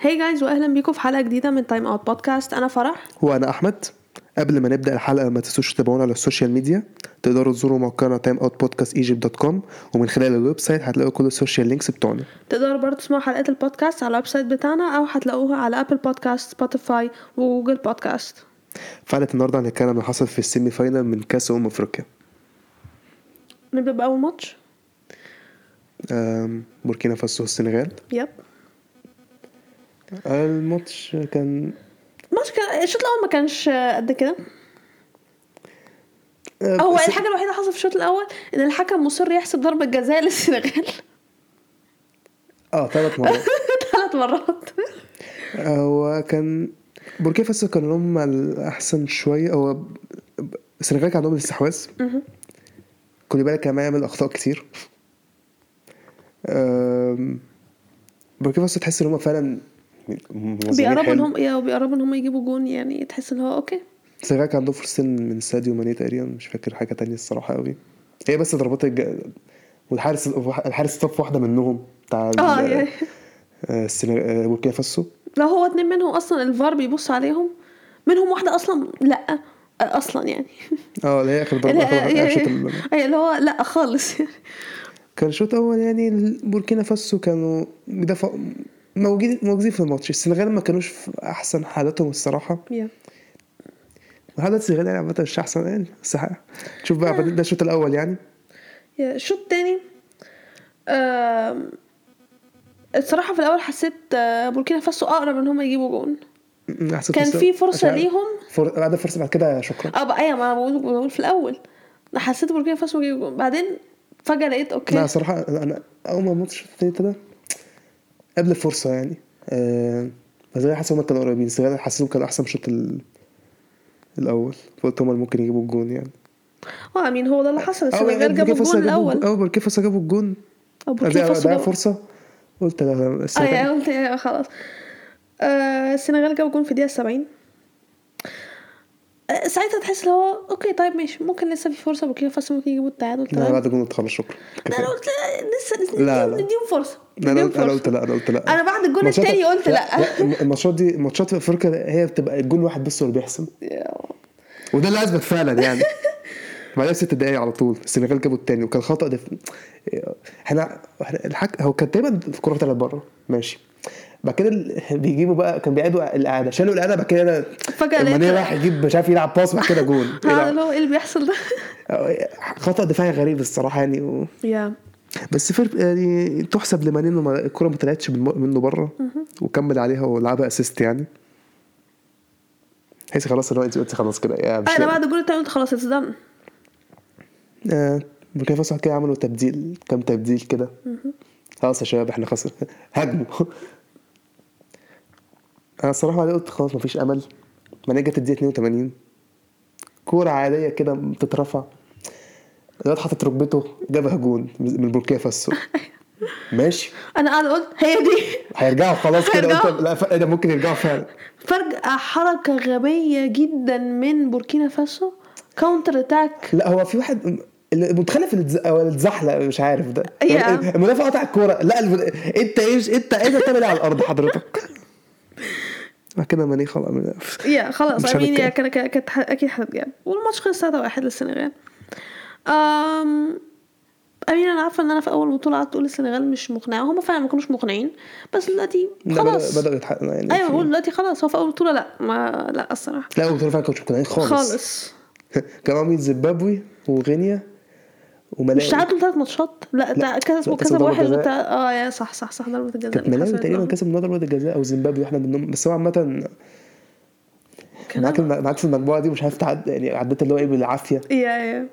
هاي جايز واهلا بيكم في حلقه جديده من تايم اوت بودكاست انا فرح وانا احمد قبل ما نبدا الحلقه ما تنسوش تتابعونا على السوشيال ميديا تقدروا تزوروا موقعنا timeoutpodcastegypt.com ومن خلال الويب سايت هتلاقوا كل السوشيال لينكس بتوعنا تقدروا برضه تسمعوا حلقات البودكاست على الويب سايت بتاعنا او هتلاقوها على ابل بودكاست سبوتيفاي وجوجل بودكاست فعلا النهارده هنتكلم عن اللي حصل في السيمي فاينال من كاس امم افريقيا نبدا باول ماتش آم، بوركينا فاسو والسنغال يب الماتش كان الماتش كان الشوط الاول ما كانش قد كده آه، هو بس- الحاجه الوحيده اللي حصلت في الشوط الاول ان الحكم مصر يحسب ضربه جزاء للسنغال اه ثلاث مرات ثلاث مرات هو كان بوركينا فاسو كانوا هم الاحسن شويه هو السنغال كان عندهم الاستحواذ مهم. كوليبالي كان بيعمل اخطاء كتير أم، بوركينا فاسو تحس ان هم فعلا منظمين بيقربوا ان حلو هم يا بيقربوا ان هم يجيبوا جون يعني تحس ان هو اوكي السنغال كان عندهم فرصتين من ساديو ماني تقريبا مش فاكر حاجه تانية الصراحه قوي هي بس ضربات الج... والحارس الحارس طف واحده منهم بتاع ال- اه يعني آه، السنغ- آه، بوركينا فاسو لو هو اتنين منهم اصلا الفار بيبص عليهم منهم واحده اصلا لا اصلا يعني اه اللي هي اخر ضربه آخر- آخر شوط ال- اي يعني اللي هو لا خالص يعني كان شوط اول يعني بوركينا فاسو كانوا بيدافعوا موجودين موجودين في الماتش السنغال ما كانوش في احسن حالتهم الصراحه هذا السنغال يعني عامة مش أحسن يعني بس ح- شوف بقى آه. ده الشوط الأول يعني يا الشوط التاني آم، الصراحه في الاول حسيت آه، بوركينا فاسو اقرب ان هم يجيبوا جون م- أحسن كان فرصة- في فرصه عشان- ليهم فر... بعد فرصة بعد كده شكرا اه بقى ايوه ما انا بقول بقول في الاول أنا حسيت بوركينا فاسو يجيبوا جون بعدين فجاه لقيت اوكي لا صراحة أنا أول ما الماتش التاني ابتدى قبل الفرصة يعني آه، بس أنا حاسس هما كانوا قريبين السنغال حاسسهم كانوا أحسن في الشوط ال- الأول فقلت هما اللي ممكن يجيبوا الجون يعني اه امين هو ده اللي حصل السنغال آه، بوركينا جابوا فاسو الجون الاول الجون- أول بوركينا فاسو جابوا الجون او ده بوركينا فاسو ده جابوا- فرصة قلت لا لا اه السنغال يعني قلت ايه خلاص آه، السنغال جاب جون في الدقيقة 70 آه، ساعتها تحس اللي هو اوكي طيب ماشي ممكن لسه في فرصة بوركينا فاسو ممكن يجيبوا التعادل لا تمام بعد الجون قلت خلاص شكرا لا، انا قلت لا، لسه لسه لا، لا. نديهم نديهم فرصة لا نديهم لا انا فرصة قلت لا انا قلت لا أنا بعد الجون الماتشات- التاني قلت لأ. الماتشات دي الماتشات في افريقيا هي بتبقى الجون واحد بس هو اللي بيحسم وده اللي اثبت فعلا يعني بعدها ست دقايق على طول السنغال جابوا التاني وكان خطا دف... احنا احنا الحك... هو كان تقريبا في كوره طلعت بره ماشي بعد كده ال- بيجيبوا بقى كان بيعيدوا الاعاده شالوا الاعاده بعد كده فجأة ماني لقيت- راح يجيب مش عارف يلعب باص بعد كده جون إيه ها، ده؟ اللي هو ايه اللي بيحصل ده خطا دفاعي غريب الصراحه يعني و... يا بس فير يعني تحسب لماني انه ما- الكره ما طلعتش من- منه بره وكمل عليها ولعبها اسيست يعني تحس خلاص اللي هو انت قلت خلاص كده يا مش انا بعد الجون التاني قلت خلاص اتس دن آه، بوركينا فاسو كده عملوا تبديل كام تبديل كده خلاص يا شباب احنا خسر هاجموا انا الصراحه بعدين قلت خلاص مفيش امل ما جت الدقيقه 82 كوره عاديه كده بتترفع الواد حاطط ركبته جابها جون من بوركينا فاسو ماشي انا قاعدة قلت هي دي هيرجعوا خلاص كده هيرجعوا. قلت لا ف- إيه ده ممكن يرجعوا فعلا فجأة حركة غبية جدا من بوركينا فاسو كاونتر اتاك لا هو في واحد المتخلف اللي اتز- ولا اتزحلق مش عارف ده يعني إيه، Yeah. المدافع قطع الكوره لا الم- انت ايش انت ايه ده بتعمل إيه على الارض حضرتك بعد كده ماني خلاص يا خلاص مش امين يا هنتكلم. كان كان- كانت ح- اكيد هتتجاب والماتش خلص 3 واحد للسنغال أم... امين انا عارفه ان انا في اول بطوله قعدت اقول السنغال مش مقنعه هم فعلا ما كانوش مقنعين بس دلوقتي لا، خلاص بدأ- بدأوا يتحققوا يعني ايوه في- بقول دلوقتي خلاص هو في اول بطوله لا ما لا الصراحه لا قلت فعلا كانوا مقنعين يعني خالص خالص خالص كان معاهم زيمبابوي وغينيا وملاوي مش تعادلوا ثلاث ماتشات لا, لا. كسبوا كسبوا كسب ضربة واحد جزاء. بتاع اه يا صح صح صح ضربه الجزاء كانت اللي ملاوي اتحسبت تقريبا لهم. كسب من ضربه الجزاء او زيمبابوي واحده منهم بس هو عامه كان معاك معاك في المجموعه دي مش عارف تعدي يعني عديت اللي هو ايه بالعافيه يا يا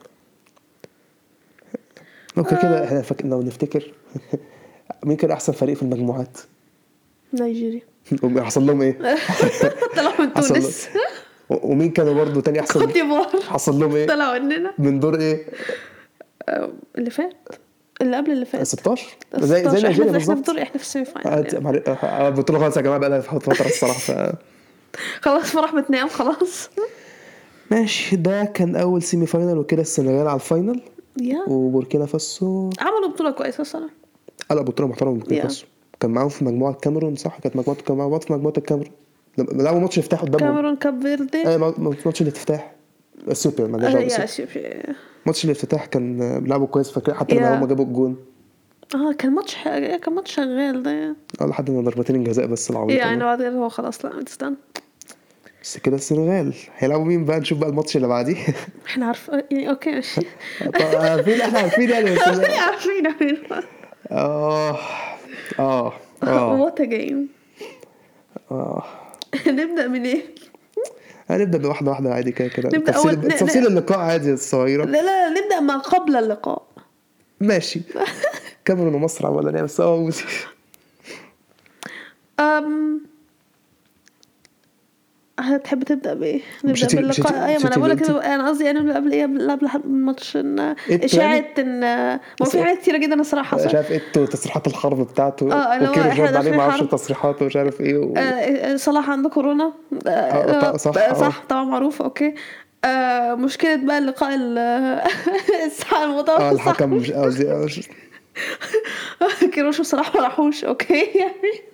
اوكي كده احنا فك... لو نفتكر مين كان احسن فريق في المجموعات؟ نيجيريا حصل لهم ايه؟ طلعوا من حصل تونس و- ومين كانوا برضه تاني احسن كوت ديفوار حصل لهم ايه؟ طلعوا مننا من دور ايه؟ آه، اللي فات اللي قبل اللي فات 16 زي 16 زي احنا نيجيريا احنا في بالظبط الدور احنا في السيمي فاينل قعدت- يعني. معلش، آه، البطوله خلاص يا جماعه بقى لها فتره الصراحه ف خلاص فرح بتنام خلاص ماشي ده كان اول سيمي فاينل وكده السنغال على الفاينل يا وبوركينا فاسو عملوا بطوله كويسه الصراحه آه، لا بطوله محترمه بوركينا Yeah. فاسو كان معاهم في مجموعه الكاميرون صح كانت مجموعه كان معاهم في مجموعه الكاميرون لما- لما اول ماتش يفتح قدامهم كاميرون كاب فيردي ايوه ما- ماتش الافتتاح السوبر ما آه، لناش دعوة يا بالسوبر. شوف ماتش الافتتاح كان آه، لعبوا كويس فاكر حتى لما يا. هم جابوا الجون اه كان ماتش ح- كان ماتش شغال ده اه لحد ما ضربتين الجزاء بس العبيطه يعني يعني بعد كده هو خلاص لا تستنى بس كده السنغال هيلعبوا مين بقى نشوف بقى الماتش اللي بعديه احنا عارف يعني اوكي ماشي طب عارفين احنا عارفين يعني بس عارفين عارفين اه اه اه وات ا جيم اه نبدا من ايه؟ هنبدا بواحده واحده عادي كده كده نبدأ أول- ن- تفصيل ن- تفصيل اللقاء عادي الصغيره لا لا نبدا ما قبل اللقاء ماشي كاميرون ومصر ولا نعمل سوا أم هتحب تبدا بايه؟ مش نبدا هتي- مش باللقاء هتي- ايوه مش ما انا هتي- بقول لك انت- انا قصدي يعني نبدا قبل ايه قبل قبل حد- الماتش ان التاني؟ اشاعه ان يعني ما في حاجات كتيره جدا الصراحه مش حصلت عارف ايه التو- تصريحات الحرب بتاعته اه، اللي هو وكيرو احنا جاوب عليه داخلين ما اعرفش حرب. تصريحاته ومش عارف ايه و... آه، صلاح عنده كورونا آه، آه، آه، صح، آه، آه. صح طبعا معروف اوكي آه، مشكلة بقى اللقاء ال- الساعة المتوسط اه الحكم مش قصدي آه، مش- كيروش وصلاح ما راحوش اوكي يعني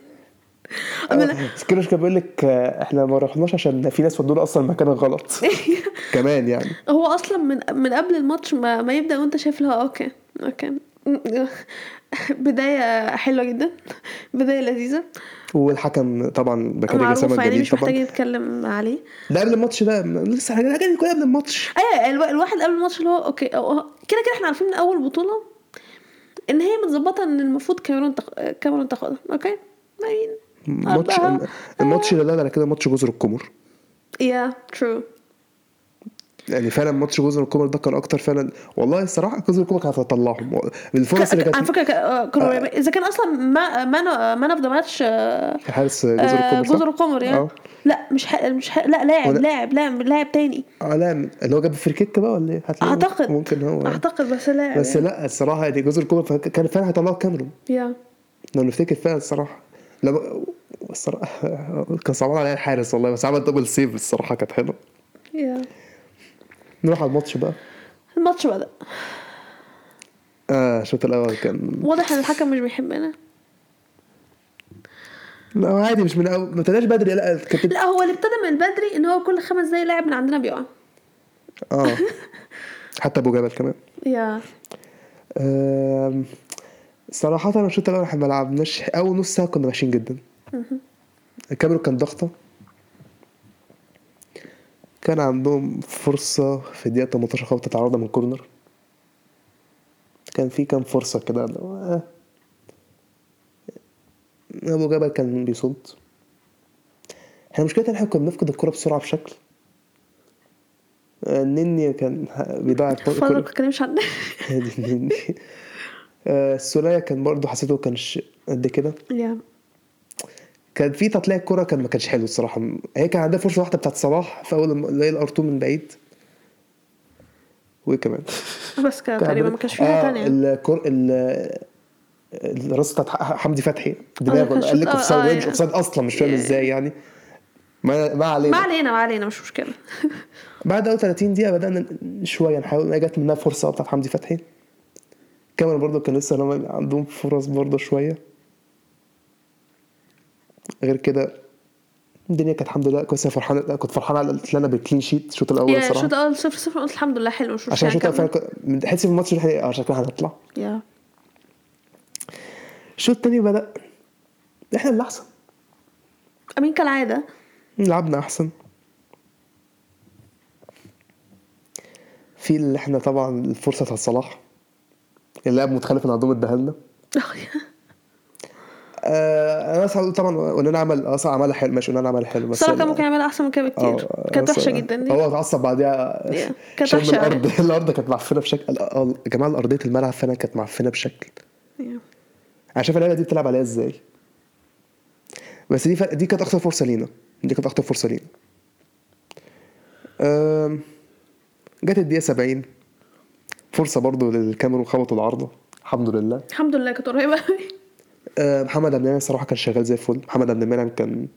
أنا- آه، كيروش كان بيقول لك آه، احنا ما رحناش عشان في ناس ودونا اصلا المكان الغلط كمان يعني هو اصلا من من قبل الماتش ما, ما يبدا وانت شايف لها اوكي اوكي بداية حلوة جدا بداية لذيذة والحكم طبعا ده كان راجل معروفة سما يعني جديد مش محتاج طبعا نتكلم عليه ده قبل الماتش ده لسه الحاجات دي كلها قبل الماتش ايوه الوا- الواحد قبل الماتش اللي هو اوكي أو- أو- كده كده احنا عارفين من اول بطوله ان هي متظبطه ان المفروض كاميرون تخ... كاميرون تاخدها اوكي مين ماتش آه. الماتش اللي لا لا كده ماتش جزر القمر يا ترو يعني فعلا ماتش جزر القمر ده كان اكتر فعلا والله الصراحه جزر القمر كانت هتطلعهم من الفرص اللي على كانت فكره ك- آه، كانوا قريبين. اذا كان اصلا ما ما ما اوف ذا ماتش آه، حارس جزر آه، القمر صح؟ جزر القمر يعني اه لا مش حق مش حق لا لاعب ولا- لاعب لاعب لاعب تاني اه لا اللي هو جاب الفريكيك بقى ولا ايه؟ هتلاقيه اعتقد ممكن هو يعني. اعتقد بس لاعب بس يعني. لا الصراحه يعني جزر القمر فك- كان فعلا هيطلعوا كاميرون يا لو نفتكر فعلا الصراحه لما الصراحه كان صعبان عليا الحارس والله بس عمل دبل سيف الصراحه كانت حلوه يا نروح على الماتش بقى الماتش بدا اه الشوط الاول كان واضح ان الحكم مش بيحبنا لا عادي مش من أول ما ابتداش بدري لا كانت لا هو اللي ابتدى من بدري ان هو كل خمس دقايق لاعب من عندنا بيقع اه حتى ابو جبل كمان يا آم، صراحة أنا الشوط الأول احنا ما لعبناش أول نص ساعة كنا ماشيين جدا الكاميرون كان ضغطة كان عندهم فرصة في الدقيقة 18 خبطة تعارضة من كورنر كان في كام فرصة كده اللي هو، آه. أبو جبل كان بيصد احنا مشكلتنا إن احنا كنا بنفقد الكرة بسرعة بشكل آه، النني كان بيضيع الكرة- فاضل ما بتكلمش عنه هادي مني آه، السولية كان برضه حسيته كانش قد كده يا كان في تطليع الكرة كان ما كانش حلو الصراحة هي كان عندها فرصة واحدة بتاعت صلاح في أول الم- اللي هي الار 2 من بعيد وإيه كمان؟ بس كده تقريبا ما كانش في حاجه آه، تانية الكر ال الراس بتاعت ح- حمدي فتحي آه، كان دماغه قال شوط- لك آه، اوف سايد آه، وهي مش يعني. اوف سايد اصلا مش فاهم يعني. ازاي يعني ما ما علينا ما علينا ما علينا مش مشكله بعد اول 30 دقيقه بدانا شويه نحاول جت منها فرصه بتاعت حمدي فتحي كاميرا برضو كان لسه لما عندهم فرص برضو شويه غير كده الدنيا كانت الحمد لله كويسه فرحان كنت فرحان على طلعنا بالكلين شيت الشوط الاول يا الشوط صراحه الاول صفر صفر قلت الحمد لله حلو مش عشان مشكله الشوط نكمل. الاول فعلا تحس في الماتش إن إحنا- اه شكلنا هنطلع يا الشوط الثاني بدا احنا اللي احسن امين كالعاده لعبنا احسن في اللي احنا طبعا الفرصه بتاعت صلاح اللاعب متخلف عندهم اداها لنا آه، يا. آه انا سعد طبعا ونانا عمل اه صح عملها حلو ماشي ونانا عملها حلو بس صراحه كان ممكن يعمل احسن من كده بكتير آه، كانت آه، وحشه صراحة. جدا دي هو اتعصب بعديها Yeah. كانت شم وحشة يعني. أوي. الارض الارض كانت معفنه بشكل آه، يا جماعه ارضيه الملعب فعلا كانت معفنه بشكل يا. انا شايف اللعبه دي بتلعب عليها ازاي بس دي فرق دي كانت اخطر فرصه لينا دي كانت اخطر فرصه لينا آم، جت الدقيقه 70 فرصه برضو للكاميرون خبطوا العارضه الحمد لله الحمد لله كانت قريبه أوي. آه، محمد عبد المنعم الصراحه كان شغال زي الفل محمد عبد المنعم كان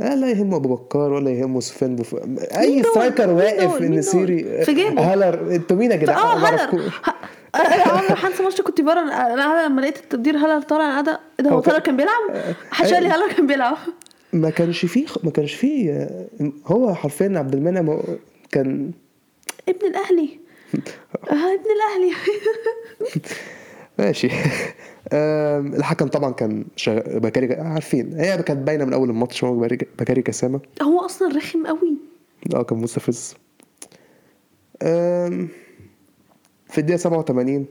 آه لا يهمه ابو بكر ولا يهمه سفيان بوف... مين اي دول؟ سترايكر مين واقف دول؟ ان مين سيري دول؟ في جيبه. هلر انتوا مين يا جدعان اه أنا ما هلر أعرفكوش. ه- انا عمري حنسى ماتش كنت بره انا أنا لما لقيت التقدير هلا طالع انا قاعده ايه ده هو هو كان- طالع أه، كان بيلعب حد قال لي هلا كان بيلعب ما كانش فيه ما كانش فيه آه، هو حرفيا عبد المنعم هو- كان ابن الاهلي آه، ابن الاهلي ماشي آم، الحكم طبعا كان شغ... بكاري عارفين هي كانت باينه من اول الماتش هو بكاري- بكاري كسامه هو اصلا رخم قوي اه كان مستفز آم، في الدقيقه 87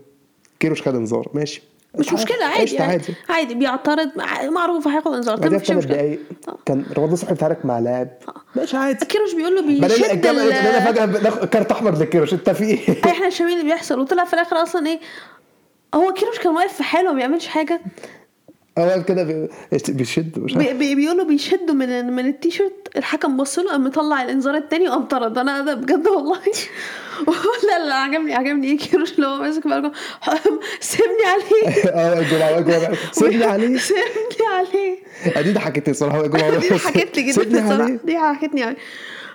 كيروش خد انذار ماشي مش مشكله عادي قشطة، يعني عادي عادي, عادي بيعترض مع- معروف هياخد انذار طيب بعدها مفيش بثلاث مشكله دقايق كان رمضان صبحي بيتعارك مع لاعب ماشي عادي كيروش بيقول له آه. بيشد بدأنا الجامعة ال- بدأنا فجأة بناخد كارت أحمر للكيروش أنت في إيه؟ احنا مش فاهمين اللي بيحصل وطلع في الاخر اصلا ايه هو كيروش كان واقف في حاله ما بيعملش حاجه أول كده بي- بيشد مش عارف بي بي بيقولوا بيشدوا من ال- من التيشيرت الحكم بص له قام مطلع الانذار التاني وقام طرد انا ده بجد والله لا لا عجبني عجبني ايه كيروش اللي هو ماسك بقى سيبني عليه أه وائل جمعة وائل جمعة سيبني عليه سيبني عليه أدي ضحكتني الصراحة وائل جمعة دي ضحكتني سيبني جدا بصراحه عليه دي ضحكتني يعني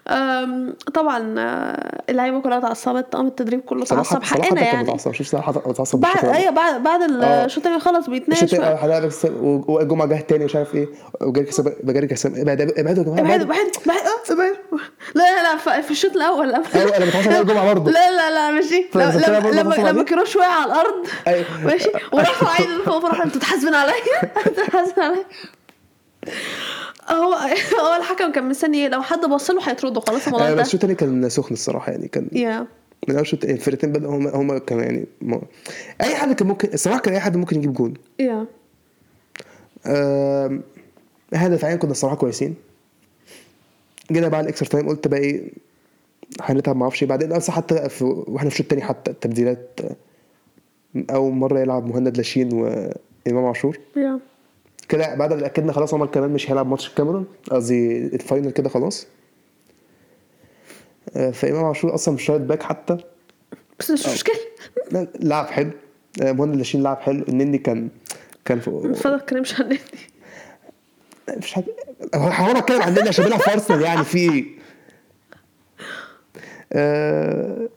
أم، طبعا آه، اللعيبه كلها اتعصبت قام التدريب كله صراحة اتعصب صراحة حقنا كنت يعني متعصب شوف صراحة متعصب بعد بالشكل ده. ايوه بعد بعد آه. الشوط الثاني خلص بيتناقش الشوط بقى. الأول بس وائل جمعة جه تاني مش عارف إيه وجاري كسب جاري كسب ابعدوا ابعدوا يا جماعة ابعدوا ابعدوا ابعدوا ابعدوا ابعدوا آه، لا لا في في الشوط الاول لما أيوة، أنا متعصب أول جمعة برضه. لا لا لا ماشي فاكر لما- أول لما جمعة لما حصل لما عليه؟ كروش وقع على الارض أيوة. ماشي وراحوا عيل فوق فراح انتوا بتحاسبين عليا انتوا بتحاسبين عليا هو هو الحكم كان مستني ايه لو حد بص له هيطرده خلاص الموضوع آه، بس ده إيه؟ الشوط التاني كان سخن الصراحة يعني كان يا من أول شوط الفرقتين بدأوا هما هما كانوا يعني ما- أي حد كان ممكن الصراحة كان أي حد ممكن يجيب جون يا آم، احنا دفاعيا كنا الصراحه كويسين جينا بقى على الاكسترا تايم قلت بقى ايه هنتعب ما اعرفش إيه. بعدين اصلا حتى في واحنا في الشوط التاني حتى التبديلات آه، اول مره يلعب مهند لاشين وامام عاشور يا كده بعد ما اكدنا خلاص عمر كمال مش هيلعب ماتش الكاميرون قصدي الفاينل كده خلاص آه، فامام عاشور اصلا مش رايت باك حتى بس مش مشكله لا، لعب حلو آه، مهند لاشين لعب حلو النني كان كان من في فضلك كريم شنتني مش حاجة هو حوار اتكلم عن النني عشان بيلعب في ارسنال يعني في ايه؟ آه،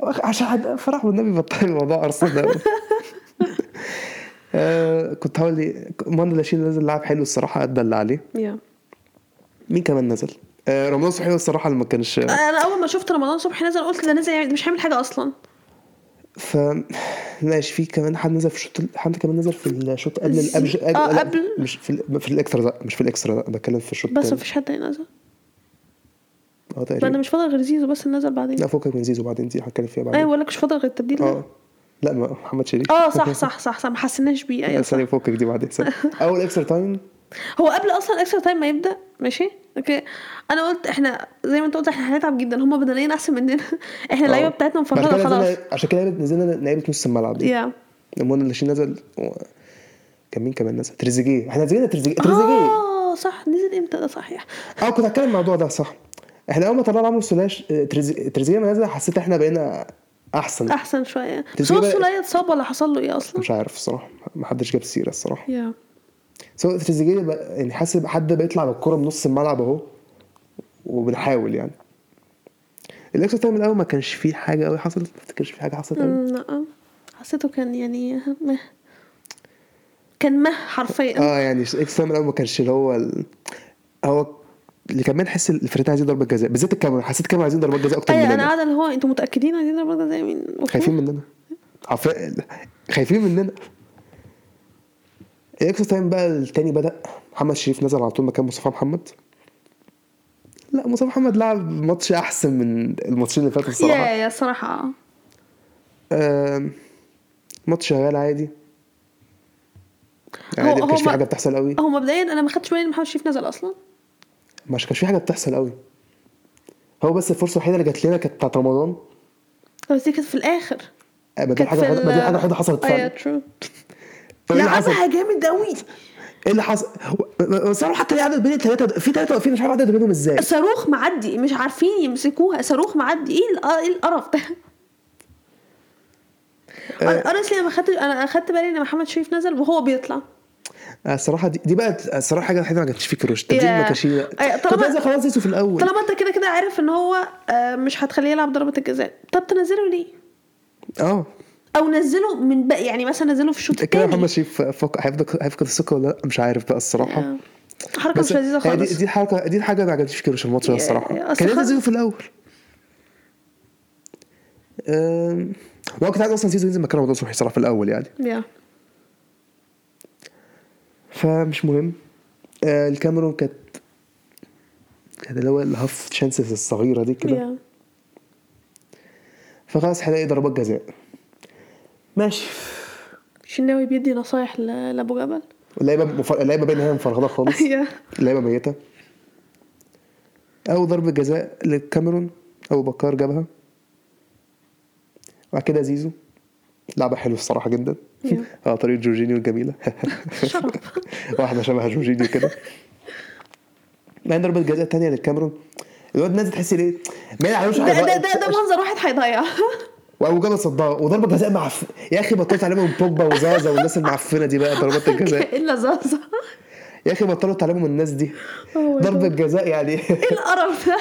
عشان حد فرح والنبي بطل موضوع ارسنال ده آه، كنت هقول لي مانا لاشين نزل لعب حلو الصراحه ادى اللي عليه يا مين كمان نزل؟ آه، رمضان صبحي هو الصراحه اللي ما كانش انا اول ما شفت رمضان صبحي نزل قلت ده نزل يعني ده مش هيعمل حاجه اصلا ف ماشي في كمان حد نزل في الشوط حد كمان نزل في الشوط قبل ال- قبل آه، لا، قبل. مش في ال- في الاكسترا لا، مش في الاكسترا لا، بتكلم في الشوط بس التاني. مفيش حد تاني نزل اه ما انا تقريبا مش فاضل غير زيزو بس اللي نزل بعدين لا طيب. فوقك من زيزو بعدين دي هتكلم فيها بعدين ايوه ولا مش فاضل غير التبديل ده اه لا ما- محمد شريف اه صح صح صح صح ما حسيناش بيه ايوه صح. ثانية فوقك دي بعدين ثانية. اول اكسترا تايم هو قبل اصلا الاكسترا تايم ما يبدا ماشي اوكي انا قلت احنا زي ما انت قلت احنا هنتعب جدا هما بدنيا احسن مننا آه. احنا اه. اللعيبه بتاعتنا مفرده خلاص عشان كده نزلنا نقابة نص الملعب دي يا المهم اللي نزل و... كان مين كمان نزل تريزيجيه احنا نزلنا تريزيجيه تريزيجيه اه صح نزل امتى ده صحيح اه كنت هتكلم عن الموضوع ده صح احنا اول ما طلعنا عمرو سولاش آه، تريزي- تريزيجيه ما نزل حسيت احنا بقينا احسن احسن شويه بس تسيبي هو بقى- السوليه اتصاب ولا حصل له ايه اصلا مش عارف الصراحة ما حدش جاب سيرة الصراحة يا سواء تريزيجيه بقى- يعني حاسس بقى حد بيطلع بالكرة من نص الملعب اهو وبنحاول يعني الاكسترا تايم الاول ما كانش فيه حاجة قوي حصلت ما افتكرش في حاجة حصلت قوي أمم، لا حسيته كان يعني مه كان مه حرفيا اه يعني اكس تايم الاول ما كانش اللي هو ال... هو اللي كان بنحس الفرقتين عايزين ضربه جزاء بالذات الكاميرون حسيت الكاميرون عايزين ضربه جزاء اكتر ايوه انا مننا قاعده اللي هو انتوا متاكدين عايزين نضرب زي مين خايفين مننا عارفين خايفين مننا الاكسترا تايم بقى التاني بدا محمد شريف نزل على طول مكان مصطفى محمد لا مصطفى محمد لعب ماتش احسن من الماتشين اللي فاتوا يا الصراحه يا صراحه آه. آم، ماتش شغال عادي عادي ما هو كانش في ما- حاجه بتحصل قوي هو مبدئيا انا ما خدتش بالي ان محمد شريف نزل اصلا مش كانش في حاجه بتحصل قوي هو بس الفرصه الوحيده اللي جت لنا كانت بتاعت رمضان بس دي كانت في الاخر آه، ما دي كانت الحاجه في الوحيدة- ما دي الحاجه الوحيده حصلت ايوه فعلا ترو طب ايه اللي حصل؟ لعبها جامد قوي ايه اللي حصل؟ بس أنا حتى ليه عدد بين الثلاثه في ثلاثه واقفين مش عارف عدد بينهم ازاي صاروخ معدي مش عارفين يمسكوها صاروخ معدي ايه الق- ايه القرف ده آه. انا انا ما خدت انا اخدت بالي ان محمد شريف نزل وهو بيطلع آه، الصراحه دي, دي بقى الصراحه الحاجه الوحيده ما كانتش فيه كروش التبديل يا. ما كانش فيه- أي، طالما- كنت عايز خلاص زيزو في الاول طالما انت كده كده عارف ان هو آه، مش هتخليه يلعب ضربه الجزاء طب تنزله ليه اه او نزله من بقى يعني مثلا نزله في الشوط كده الثاني محمد شريف فق- هيفضل- هيفقد الثقه ولا لا مش عارف بقى الصراحه آه. حركه مش لذيذه هي خالص يعني دي, دي حركه دي الحاجه اللي ما عجبتنيش كيروش الماتش ده يا- الصراحه أصل كان خد- لازم في الاول أم، وانا كنت عايز اصلا زيزو ينزل مكان رمضان صبحي صراحه في الاول يعني يا. فمش مهم آه، الكاميرون كانت كانت اللي هو الهاف تشانسز الصغيره دي كده يا. فخلاص هنلاقي ضربات جزاء ماشي الشناوي بيدي نصايح ل- لابو جبل اللعيبه مفر... اللعيبه بينها مفرغده خالص يا. اللعيبه ميته او ضربه جزاء للكاميرون ابو بكار جابها وبعد كده زيزو لعبه حلوه الصراحه جدا يا. على طريقه جورجينيو الجميله شرف واحده شبه جورجينيو كده بعدين ضربه جزاء تانية للكاميرون الواد نازل تحس ليه ما يعرفش ده ده ده, ده منظر واحد هيضيع وابو جبل صدها وضربه جزاء معف يا اخي بطلت تعلمهم بوجبا وزازا والناس المعفنه دي بقى ضربات الجزاء الا زازا يا اخي بطلوا تعلمهم الناس دي Oh my ضربه God. جزاء يعني ايه القرف ده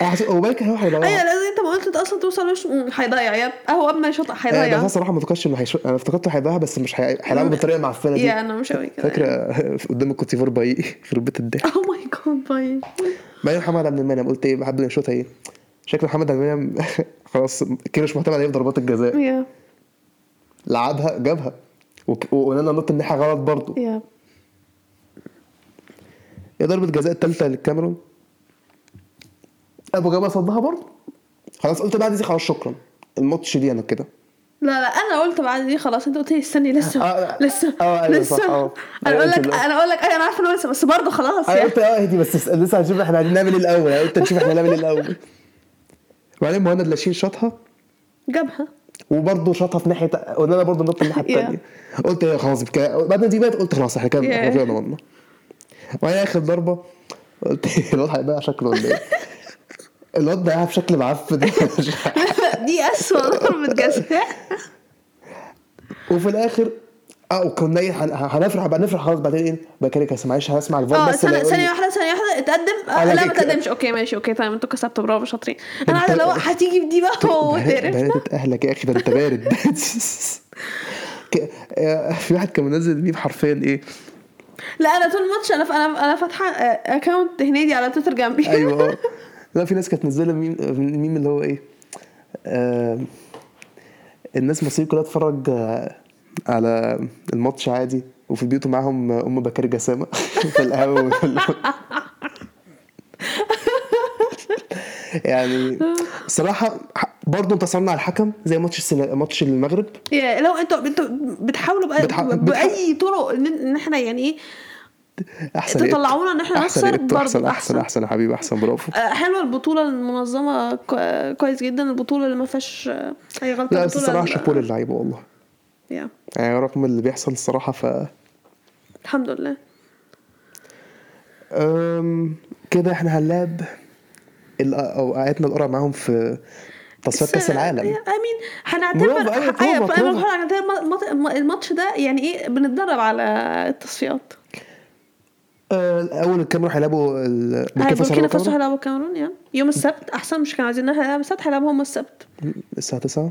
أحس- هو بالك هو ايوه هيضيعها لازم انت ما قلت انت اصلا توصل مش مم، هيضيع يا هو قبل ما يشوط آه، بس هيضيع انا صراحه ما فكرتش انه هيشو... انا افتكرته هيضيعها بس مش هي- هيلعبها بالطريقه المعفنه دي يا انا مش قوي كده فاكره قدام الكوتيفور باي يخرب بيت الضحك او ماي جاد باي بعدين محمد عبد المنعم قلت ايه محمد يشوطها ايه شكل محمد عبد المنعم خلاص كده مش معتمد عليه في ضربات الجزاء يا لعبها جابها وك- وقلنا نط الناحيه غلط برضه يا هي ضربه جزاء الثالثه للكاميرون ابو جابر صدها برضه خلاص قلت بعد دي خلاص شكرا الماتش دي انا كده لا لا انا قلت بعد دي خلاص انت قلت لي استني لسه آه، لا. لسه آه، أيوة، صح، لسه آه. انا اقول أيوة، لك كده. انا اقول لك ايوه انا عارفه انه لسه بس برضه خلاص انا يا قلت اه اهدي بس لسه هنشوف احنا هنعمل ايه الاول انا قلت نشوف احنا هنعمل ايه الاول وبعدين مهند لاشين شاطها جابها وبرضه شاطها في ناحيه قلنا انا برضه نط الناحيه الثانيه قلت إيه خلاص بك... بعد ما دي بقت قلت خلاص احنا كده احنا Yeah. كده ضمننا وبعدين اخر ضربه قلت إيه، الواد هيضيع شكله ولا ايه؟ الواد ضيعها بشكل معفن دي اسوء ضربه جزاء وفي الاخر اه وكنا إيه، هن- هنفرح بقى نفرح خلاص بعدين ايه بقى كده كاس- معلش هسمع الفار اه بس اللي ثانية يقول ثانية واحدة لي- ثانية واحدة اتقدم آه أنا لا ما كده- تقدمش اوكي ماشي اوكي تمام انتوا كسبتوا برافو شاطرين انا أنت- عايزة لو هتيجي في دي بقى هو تعرف بردت اهلك يا اخي ده انت بارد ك- آه، في واحد كان منزل ميم حرفيا ايه لا انا طول الماتش انا ف- انا انا فاتحة اكونت هنيدي على تويتر جنبي ايوه آه. لا في ناس كانت منزله ميم الميم اللي هو ايه آه، الناس مصر كلها تتفرج آه، على الماتش عادي وفي البيوت معاهم آه، ام بكر جسامه في القهوه وال- يعني صراحه برضه انتصرنا على الحكم زي ماتش السنة- ماتش المغرب يا لو انتوا انتوا بتحاولوا بقى بتح- باي طرق ان ان احنا يعني ايه احسن إيه؟ تطلعونا إن إحنا أحسن نخسر إيه؟ برضه احسن احسن أحسن. احسن يا حبيبي احسن برافو آه، حلوة البطولة المنظمة كو- كويس جدا البطولة اللي ما فيهاش آه، اي غلطة لا بس البطولة الصراحه ال- شابوه للعيبه والله يا يعني رغم اللي بيحصل الصراحه ف الحمد لله أم، كده احنا هنلعب ال- اوقاتنا القرع معاهم في تصفيات كاس العالم امين برافو، أيوة، هنعتبر برافو، أيوة، برافو. أنا بقول هنعتبر المط- الم- الماتش ده يعني ايه بنتدرب على التصفيات أه، اول الكاميرون هيلعبوا ال- هاي بوركينا فاسو هيلعبوا هيلعبوا الكاميرون يعني يوم السبت احسن مش كانوا عايزين هيلعبوا السبت هيلعبوا هم السبت الكاميرون؟ الساعه 9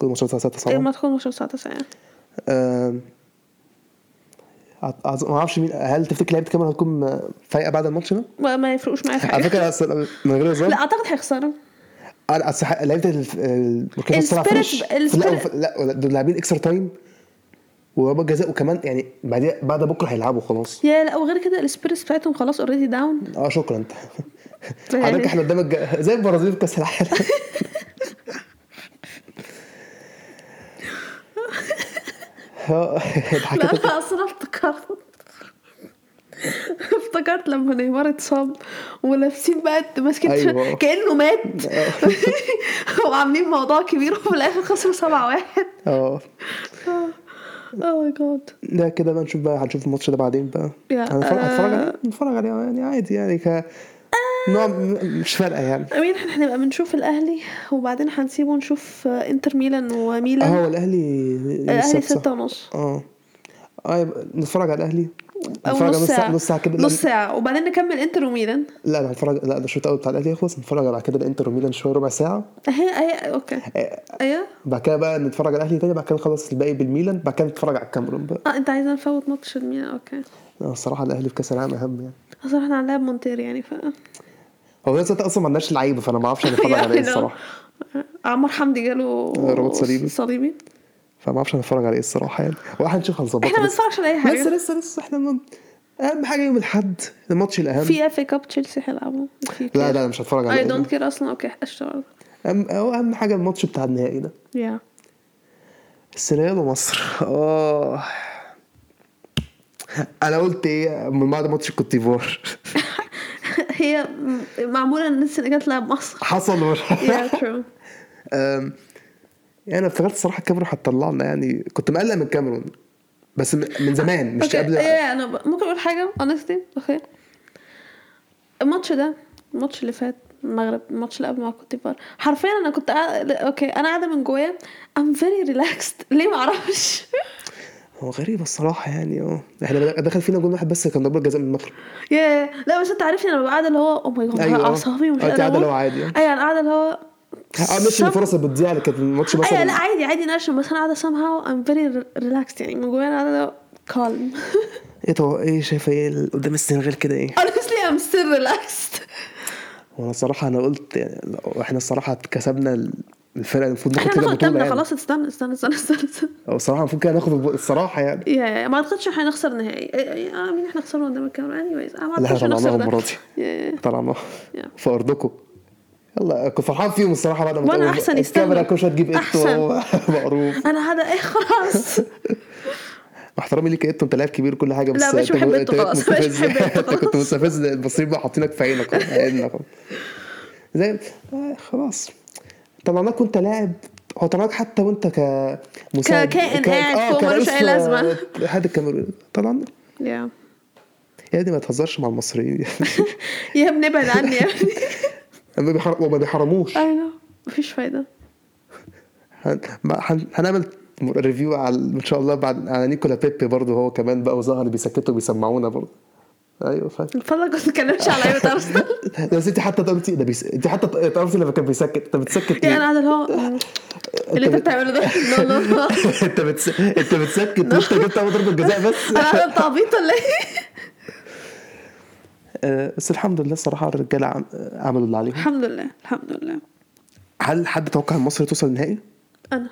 كل ماتشات غير الساعه 9 ما تكون مش الساعه 9 يعني أم، أعت- أعت- ما اعرفش مين هل تفتكر لعيبه الكاميرون هتكون فايقه بعد الماتش ده؟ ما- ما يفرقوش معايا في حاجه على فكره أصل- من غير هزار لا اعتقد هيخسروا انا اصل ح- لعيبه الف- البوركينا فاسو طلع السبيريت- فريش لا السبيريت- وف- لا ولا- دول لاعبين اكسترا تايم وضربات جزاء وكمان يعني بعد بعد بكره هيلعبوا خلاص يا لا وغير كده السبيرس بتاعتهم خلاص اوريدي داون اه شكرا انت يعني- حضرتك احنا قدام الج... زي البرازيل في كاس العالم اه، لا ضحكتك انا اصلا افتكرت افتكرت لما نيمار اتصاب ولابسين بقى ماسكين أيوة. كانه مات وعاملين موضوع كبير وفي الاخر خسروا 7 1 اه اوه ماي جاد ده كده بقى نشوف بقى هنشوف الماتش ده بعدين بقى يا، هنتفرج آه. هنتفرج عليه هنتفرج عليه يعني عادي يعني ك نوع م- مش فارقه يعني امين احنا هنبقى بنشوف الاهلي وبعدين هنسيبه نشوف انتر ميلان وميلان اه هو الاهلي الاهلي السبت صح؟ ستة ونص اه اه يبقى آه. نتفرج على الاهلي او نتفرج على نص ساعه نص ساعه كده لا، نص ساعه وبعدين نكمل انتر وميلان لا انا هتفرج لا ده الشوط الاول بتاع الاهلي يخلص نتفرج على كده الانتر وميلان شويه ربع ساعه اهي اهي اوكي آه، ايوه بعد كده بقى نتفرج على الاهلي تاني بعد كده نخلص الباقي بالميلان بعد كده نتفرج على الكاميرون بقى اه انت عايزه نفوت ماتش الميلان اوكي آه، الصراحه الاهلي في كاس العالم اهم يعني اصل احنا هنلاعب مونتير يعني ف هو الناس اصلا ما عندناش لعيبه فانا ما اعرفش هنتفرج على ايه يعني الصراحه اه. عمر حمدي جاله رباط صليبي. صليبي فما اعرفش هنتفرج على ايه الصراحه يعني واحد نشوف احنا ما هنظبطها لسه بنتفرجش على اي لسه حاجه لسه لسه احنا من... اهم حاجه يوم الاحد الماتش الاهم في اف كاب تشيلسي هيلعبوا لا لا مش هتفرج على اي ايه دونت كير اصلا اوكي اشتغل أهم... أو اهم حاجه الماتش بتاع النهائي ده يا السنغال ومصر اه انا قلت ايه من بعد ماتش الكوت ديفوار هي م- معموله ان السنغال تلعب مصر حصل يا ولا ترو أم، يعني انا افتكرت الصراحه الكاميرون هتطلع لنا يعني كنت مقلق من الكاميرون بس من من زمان مش اوكي قبل ايه انا ب... ممكن اقول حاجه اونستي اوكي الماتش ده الماتش اللي فات المغرب الماتش اللي قبل مع كوت ديفوار حرفيا انا كنت قاعد... اوكي انا قاعده من جوايا ام فيري ريلاكسد ليه ما اعرفش هو غريب الصراحه يعني اه احنا بدأ- دخل فينا جول واحد بس كان ضربه جزاء من المغرب يا لا بس انت عارفني انا ببقى قاعده اللي هو oh او ماي جاد أيوة. اعصابي ومش آه، قادرة أنت قاعدة اللي هو أقول. عادي. ايوه انا قاعده اللي هو اه مش some- الفرص اللي بتضيع اللي كانت الماتش مثلا ايوه لا عادي عادي ناشم بس انا قاعده somehow I'm very relaxed يعني من جوايا انا قاعده calm ايه طب ايه شايفه ايه اللي قدام السنغال كده ايه honestly I'm still relaxed وانا الصراحه انا قلت يعني لو احنا الصراحه كسبنا الفرقه المفروض احنا ناخد كده ناخد بطوله تمنا يعني خلاص استنى استنى استنى استنى, استنى. او الصراحه المفروض كده ناخد الب- الصراحه يعني يا يا ما اعتقدش احنا هنخسر نهائي إيه- إيه، آه، مين احنا خسرنا قدام الكاميرا anyways آه، ما اللي احنا اعتقدش طلعناها هنخسر المره ده دي يا- يا. طلعناها يا. في ارضكم يلا كنت فرحان فيهم الصراحه بعد ما وأنا تقولوا أحسن الكاميرا يستاهلوا. كل شويه تجيب أحسن. ايتو مقروف انا هذا ايه خلاص مع احترامي ليك يا ايتو انت لاعب كبير وكل حاجه بس لا، مش أنت- بحب أنت إيتو خلاص، مش مستفز. بحب إيتو انت كنت خلاص. مستفز المصريين بقى حاطينك في عينك في عينك زي آه، خلاص طلعناك وانت لاعب هو طلعناك حتى وانت ك مساعد- ككائن ك- قاعد آه، فوق ملوش كرئيس، أي لازمة. آه، حد الكاميرون طلعنا يا يا ابني ما تهزرش مع المصريين يا ابني ابعد عني يا ابني ما بيحر- وما بيحرموش اي نو مفيش فايده هن- ما- هن- هنعمل ريفيو على ان شاء الله بعد على نيكولا بيبي برضه هو كمان بقى وظهر بيسكتوا وبيسمعونا برضه ايوه فاهم من فضلك ما تتكلمش على ايوه ارسنال بس انت حتى قلتي ده بيس... انت حتى قلتي لما كان بيسكت انت بتسكت يعني ليه؟ انا قاعده اللي هو اللي انت بتعمله ده نو نو نو انت بتس... انت بتسكت وانت جبت اول ضربه جزاء بس انا قاعده انت عبيط ولا ايه؟ آه، بس الحمد لله الصراحه الرجاله عم... عملوا اللي عليهم الحمد لله الحمد لله هل حد توقع ان مصر توصل النهائي؟ انا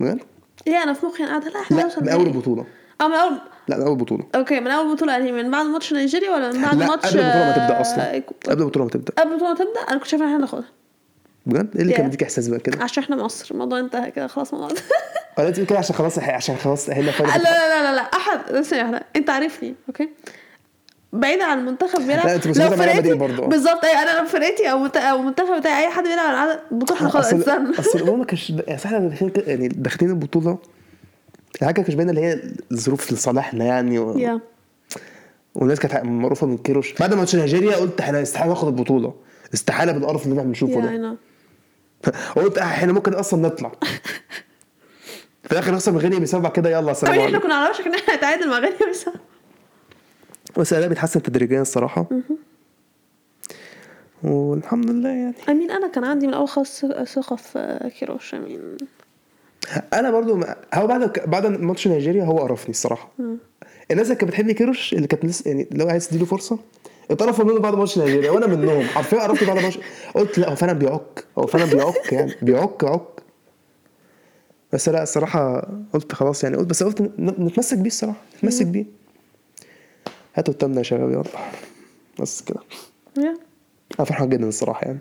بجد؟ ايه انا في مخي انا قاعده لا احنا لا هنوصل من اول نهائي. بطوله اه من اول لا من اول بطوله اوكي من اول بطوله يعني من بعد ماتش نيجيريا ولا من بعد لا ماتش قبل البطوله ما تبدا آه، اصلا قبل البطوله ما تبدا قبل البطوله ما تبدا انا كنت شايفه ان احنا هناخدها بجد ايه اللي كان Yeah. بيديك احساس بقى كده؟ عشان احنا مصر الموضوع انتهى كده خلاص الموضوع انتهى. ولا تقول كده عشان خلاص عشان خلاص اهلنا لا فاضي لا لا لا لا احد ثانيه واحده انت عارفني اوكي بعيدا عن المنتخب بيلعب لا، أنت مسؤولة عن ريال مدريد برضه. بالظبط اي انا لو فرقتي او منت- او المنتخب بتاعي اي حد بيلعب على العدد بطوله احنا خلاص استنى اصل اصل الامم ما كانش يعني احنا داخلين كده- يعني داخلين البطوله الحاجه كانت باينه اللي هي الظروف لصالحنا يعني و... يا والناس كانت معروفه من كيروش بعد ما ماتش نيجيريا قلت احنا استحاله ناخد البطوله استحاله بالقرف اللي احنا بنشوفه يا ده انا قلت احنا ممكن اصلا نطلع في الاخر نخسر من غينيا بسبب بعد كده يلا طب سلام احنا عليكم كنا على وشك ان احنا نتعادل مع غينيا بس بس الاداء بيتحسن تدريجيا الصراحه والحمد لله يعني امين انا كان عندي من اول خالص ثقه في كيروش امين انا برضو ما- هو بعد بعد ماتش نيجيريا هو قرفني الصراحه الناس اللي كانت بتحب كيروش اللي كانت لسه يعني لو عايز تديله فرصه اتقرفوا منه بعد ماتش نيجيريا وانا منهم حرفيا قرفت بعد ماتش قلت لا هو فعلا بيعك هو فعلا بيعك يعني بيعك عك بس لا الصراحه قلت خلاص يعني قلت بس قلت ن- نتمسك بيه الصراحه نتمسك بيه هاتوا التمنه يا شباب يلا بس كده يا انا فرحان جدا الصراحه يعني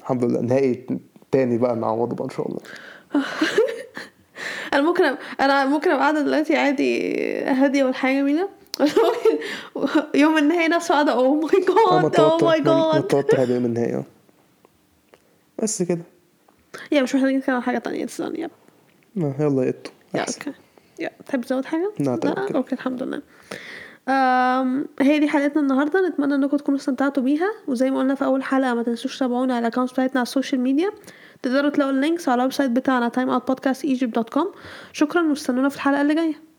الحمد لله نهائي تاني بقى مع وضع بقى ان شاء الله انا ممكن أب... انا ممكن ابقى قاعده دلوقتي عادي هاديه والحياه جميله ممكن يوم النهاية نفسه "Oh قاعده اوه ماي جاد اوه ماي جاد متوتر هذا من النهائي اه بس كده يا مش محتاجين نتكلم عن حاجه تانية تسلم يا آه، يلا يا إتو. يا أحسن. اوكي يا تحب تزود حاجه؟ لا، طبعا كده. اوكي الحمد لله أم هي دي حلقتنا النهارده نتمنى انكم تكونوا استمتعتوا بيها وزي ما قلنا في اول حلقه ما تنسوش تتابعونا على الاكونت بتاعتنا على السوشيال ميديا تقدروا تلاقوا اللينكس على الويب سايت بتاعنا timeoutpodcastegypt.com شكرا واستنونا في الحلقه اللي جايه